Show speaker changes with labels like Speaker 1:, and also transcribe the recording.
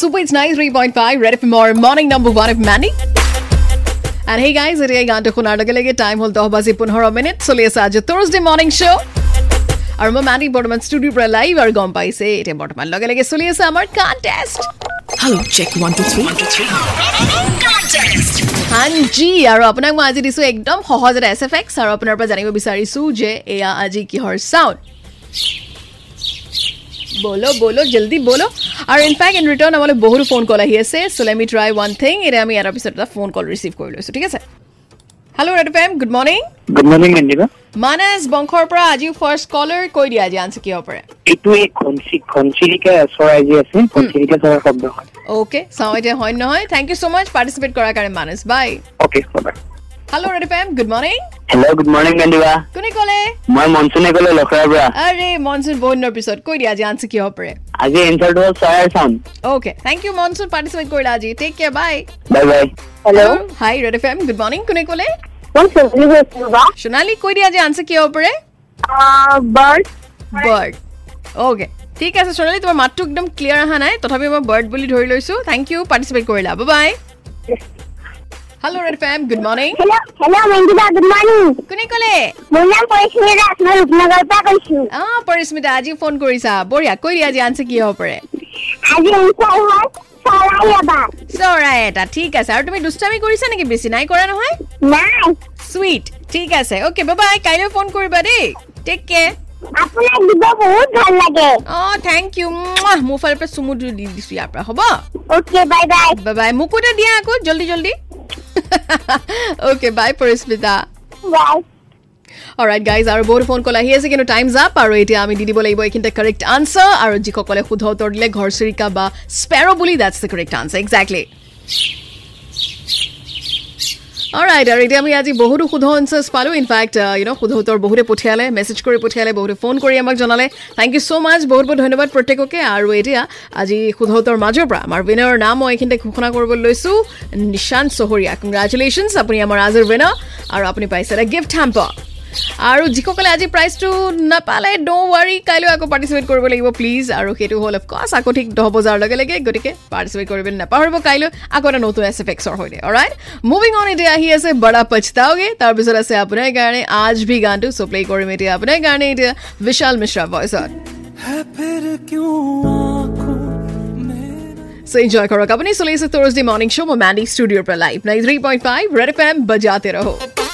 Speaker 1: Super it's nice three point five red F more morning number one F money And hey guys, এতিয়া গানটো শুনাৰ লগে লগে time হ'ল দহ বাজি পোন্ধৰ মিনিট চলি আছে আজি থাৰ্ছডে মৰ্ণিং শ্ব' আৰু মই মানি বৰ্তমান ষ্টুডিঅ'ৰ পৰা লাইভ আৰু গম পাইছে এতিয়া বৰ্তমান লগে লগে চলি আছে আমাৰ contest
Speaker 2: Hello, check one, two, three.
Speaker 1: হানজি আৰু আপোনাক মই আজি দিছোঁ একদম সহজ এটা এছ এফ এক্স আৰু আপোনাৰ পৰা জানিব বিচাৰিছোঁ যে এয়া আজি কিহৰ চাউণ্ড বলো বলো জলদি বলো আৰু ইনফেক্ট ইন ৰিটাৰ্ণ আমালৈ বহুতো ফোন কল আহি আছে so' let me try one thing এতিয়া আমি ইয়াৰ পিছত এটা ফোন কল ৰিচিভ কৰি লৈছোঁ ঠিক আছে hello' red M good morning
Speaker 3: good morning Manjiba
Speaker 1: Manas বংশৰ পৰা আজিও ফাৰ্ষ্ট কলাৰ কৈ দিয়া আজি আনচাৰ কিহৰ পৰা
Speaker 3: এইটো এই ঘনচি ঘনচিৰিকা চৰাই যি আছে ঘনচিৰিকা চৰাই শব্দ হয়
Speaker 1: অ'কে চাওঁ এতিয়া হয় নে নহয় thank you so' much participate কৰাৰ কাৰণে Manas bye
Speaker 3: okay
Speaker 1: hello' red M good morning
Speaker 3: hello' good morning Manjiba
Speaker 1: কোনে ক'লে
Speaker 3: মই মনচুনে ক'লো লখৰাৰ পৰা
Speaker 1: আৰে মনচুন বহুত দিনৰ পিছত কৈ দিয়া আজি আনচাৰ কিহৰ পৰা
Speaker 3: আজি এনচাৰটো হ'ল চৰাইৰ sound
Speaker 1: okay thank you monsoon participate কৰিলা আজি take care bye
Speaker 3: bye bye
Speaker 4: hello'
Speaker 1: hi red F M good morning কোনে ক'লে
Speaker 4: মই চলি গৈছিলো বা
Speaker 1: সোণালী কৈ দিয়া আজি আনচাৰ কিহৰ পৰা
Speaker 4: Ah, বাৰ্ড
Speaker 1: বাৰ্ড অ'কে ঠিক আছে সোণালী তোমাৰ মাতটো একদম ক্লিয়াৰ অহা নাই তথাপি মই বাৰ্ড বুলি ধৰি লৈছোঁ থেংক ইউ পাৰ্টিচিপেট কৰিলা bye hello' red F M good morning
Speaker 4: hello' hello' Manjita good morning
Speaker 1: কোনে ক'লে
Speaker 4: মোৰ নাম পৰিস্মিতা দাস মই ৰূপনগৰৰ পৰা কৈছো
Speaker 1: অঁ পৰিস্মিতা আজি ফোন কৰিছা বঢ়িয়া কৈ দিয়া আজি আনচাৰ কিহৰ পৰা
Speaker 4: আজি এনচাৰ হ'ল চৰাই এবাৰ
Speaker 1: চৰাই এটা ঠিক আছে আৰু তুমি দুষ্টামি কৰিছা নেকি বেছি নাই কৰা নহয়
Speaker 4: নাই
Speaker 1: চুইট ঠিক আছে অ'কে বাবা কাইলৈ ফোন কৰিবা দেই টেক কেয়াৰ
Speaker 4: আপোনাক দিব বহুত ভাল লাগে
Speaker 1: অঁ থেংক ইউ মোৰ ফালৰ পৰা চুমু দি দিছোঁ ইয়াৰ পৰা হ'ব
Speaker 4: অ'কে বাই বাই
Speaker 1: বাই মোকো এটা দিয়া আকৌ জল্দি জল্দি okay bye Parismita
Speaker 4: bye
Speaker 1: alright guys আৰু বহুত ফোন কল আহি আছে কিন্তু টাইম জাপ আৰু এতিয়া আমি দি দিব লাগিব এইখিনিতে কাৰেক্ট আনচাৰ আৰু যিসকলে শুদ্ধ উত্তৰ দিলে ঘৰচিৰিকা বা স্পেৰ' বুলি that's the correct answer exactly alright আৰু এতিয়া আমি আজি বহুতো শুদ্ধ আনচাৰ্ছ পালোঁ ইনফেক্ট ইউ ন' শুদ্ধ উত্তৰ বহুতে পঠিয়ালে মেছেজ কৰি পঠিয়ালে বহুতে ফোন কৰি আমাক জনালে থেংক ইউ ছ' মাছ বহুত বহুত ধন্যবাদ প্ৰত্যেককে আৰু এতিয়া আজি শুদ্ধ উত্তৰ মাজৰ পৰা আমাৰ উইনাৰৰ নাম মই এইখিনিতে ঘোষণা কৰিবলৈ লৈছোঁ নিশান্ত চহৰীয়া কংগ্ৰেচুলেশ্যনছ আপুনি আমাৰ আজিৰ উইনাৰ আৰু আপুনি পাইছে এটা গিফ্ট হেম্পাৰ আৰু যিসকলে আজি প্ৰাইজটো নাপালে ড'ন্ট ৱাৰি কাইলৈ আকৌ পাৰ্টিচিপেট কৰিব লাগিব প্লিজ আৰু সেইটো হ'ল অফক'ৰ্ছ আকৌ ঠিক দহ বজাৰ লগে লগে গতিকে পাৰ্টিচিপেট কৰিব নাপাহৰিব কাইলৈ আকৌ এটা নতুন এছ এফ এক্সৰ সৈতে অলৰাইট মুভিং অন এতিয়া আহি আছে বৰা পচতাওগে তাৰপিছত আছে আপোনাৰ কাৰণে আজ ভি গানটো চ' প্লে' কৰিম এতিয়া আপোনাৰ কাৰণে এতিয়া বিশাল মিশ্ৰা ভইচত
Speaker 5: है फिर क्यों आंखों में
Speaker 1: চ' এনজয় কৰক আপুনি চলি আছে থাৰ্ছডে মৰ্ণিং শ্ব' মই মেণ্ডি ষ্টুডিঅ'ৰ পৰা লাইভ নাই three point five red F M বজাতে ৰহ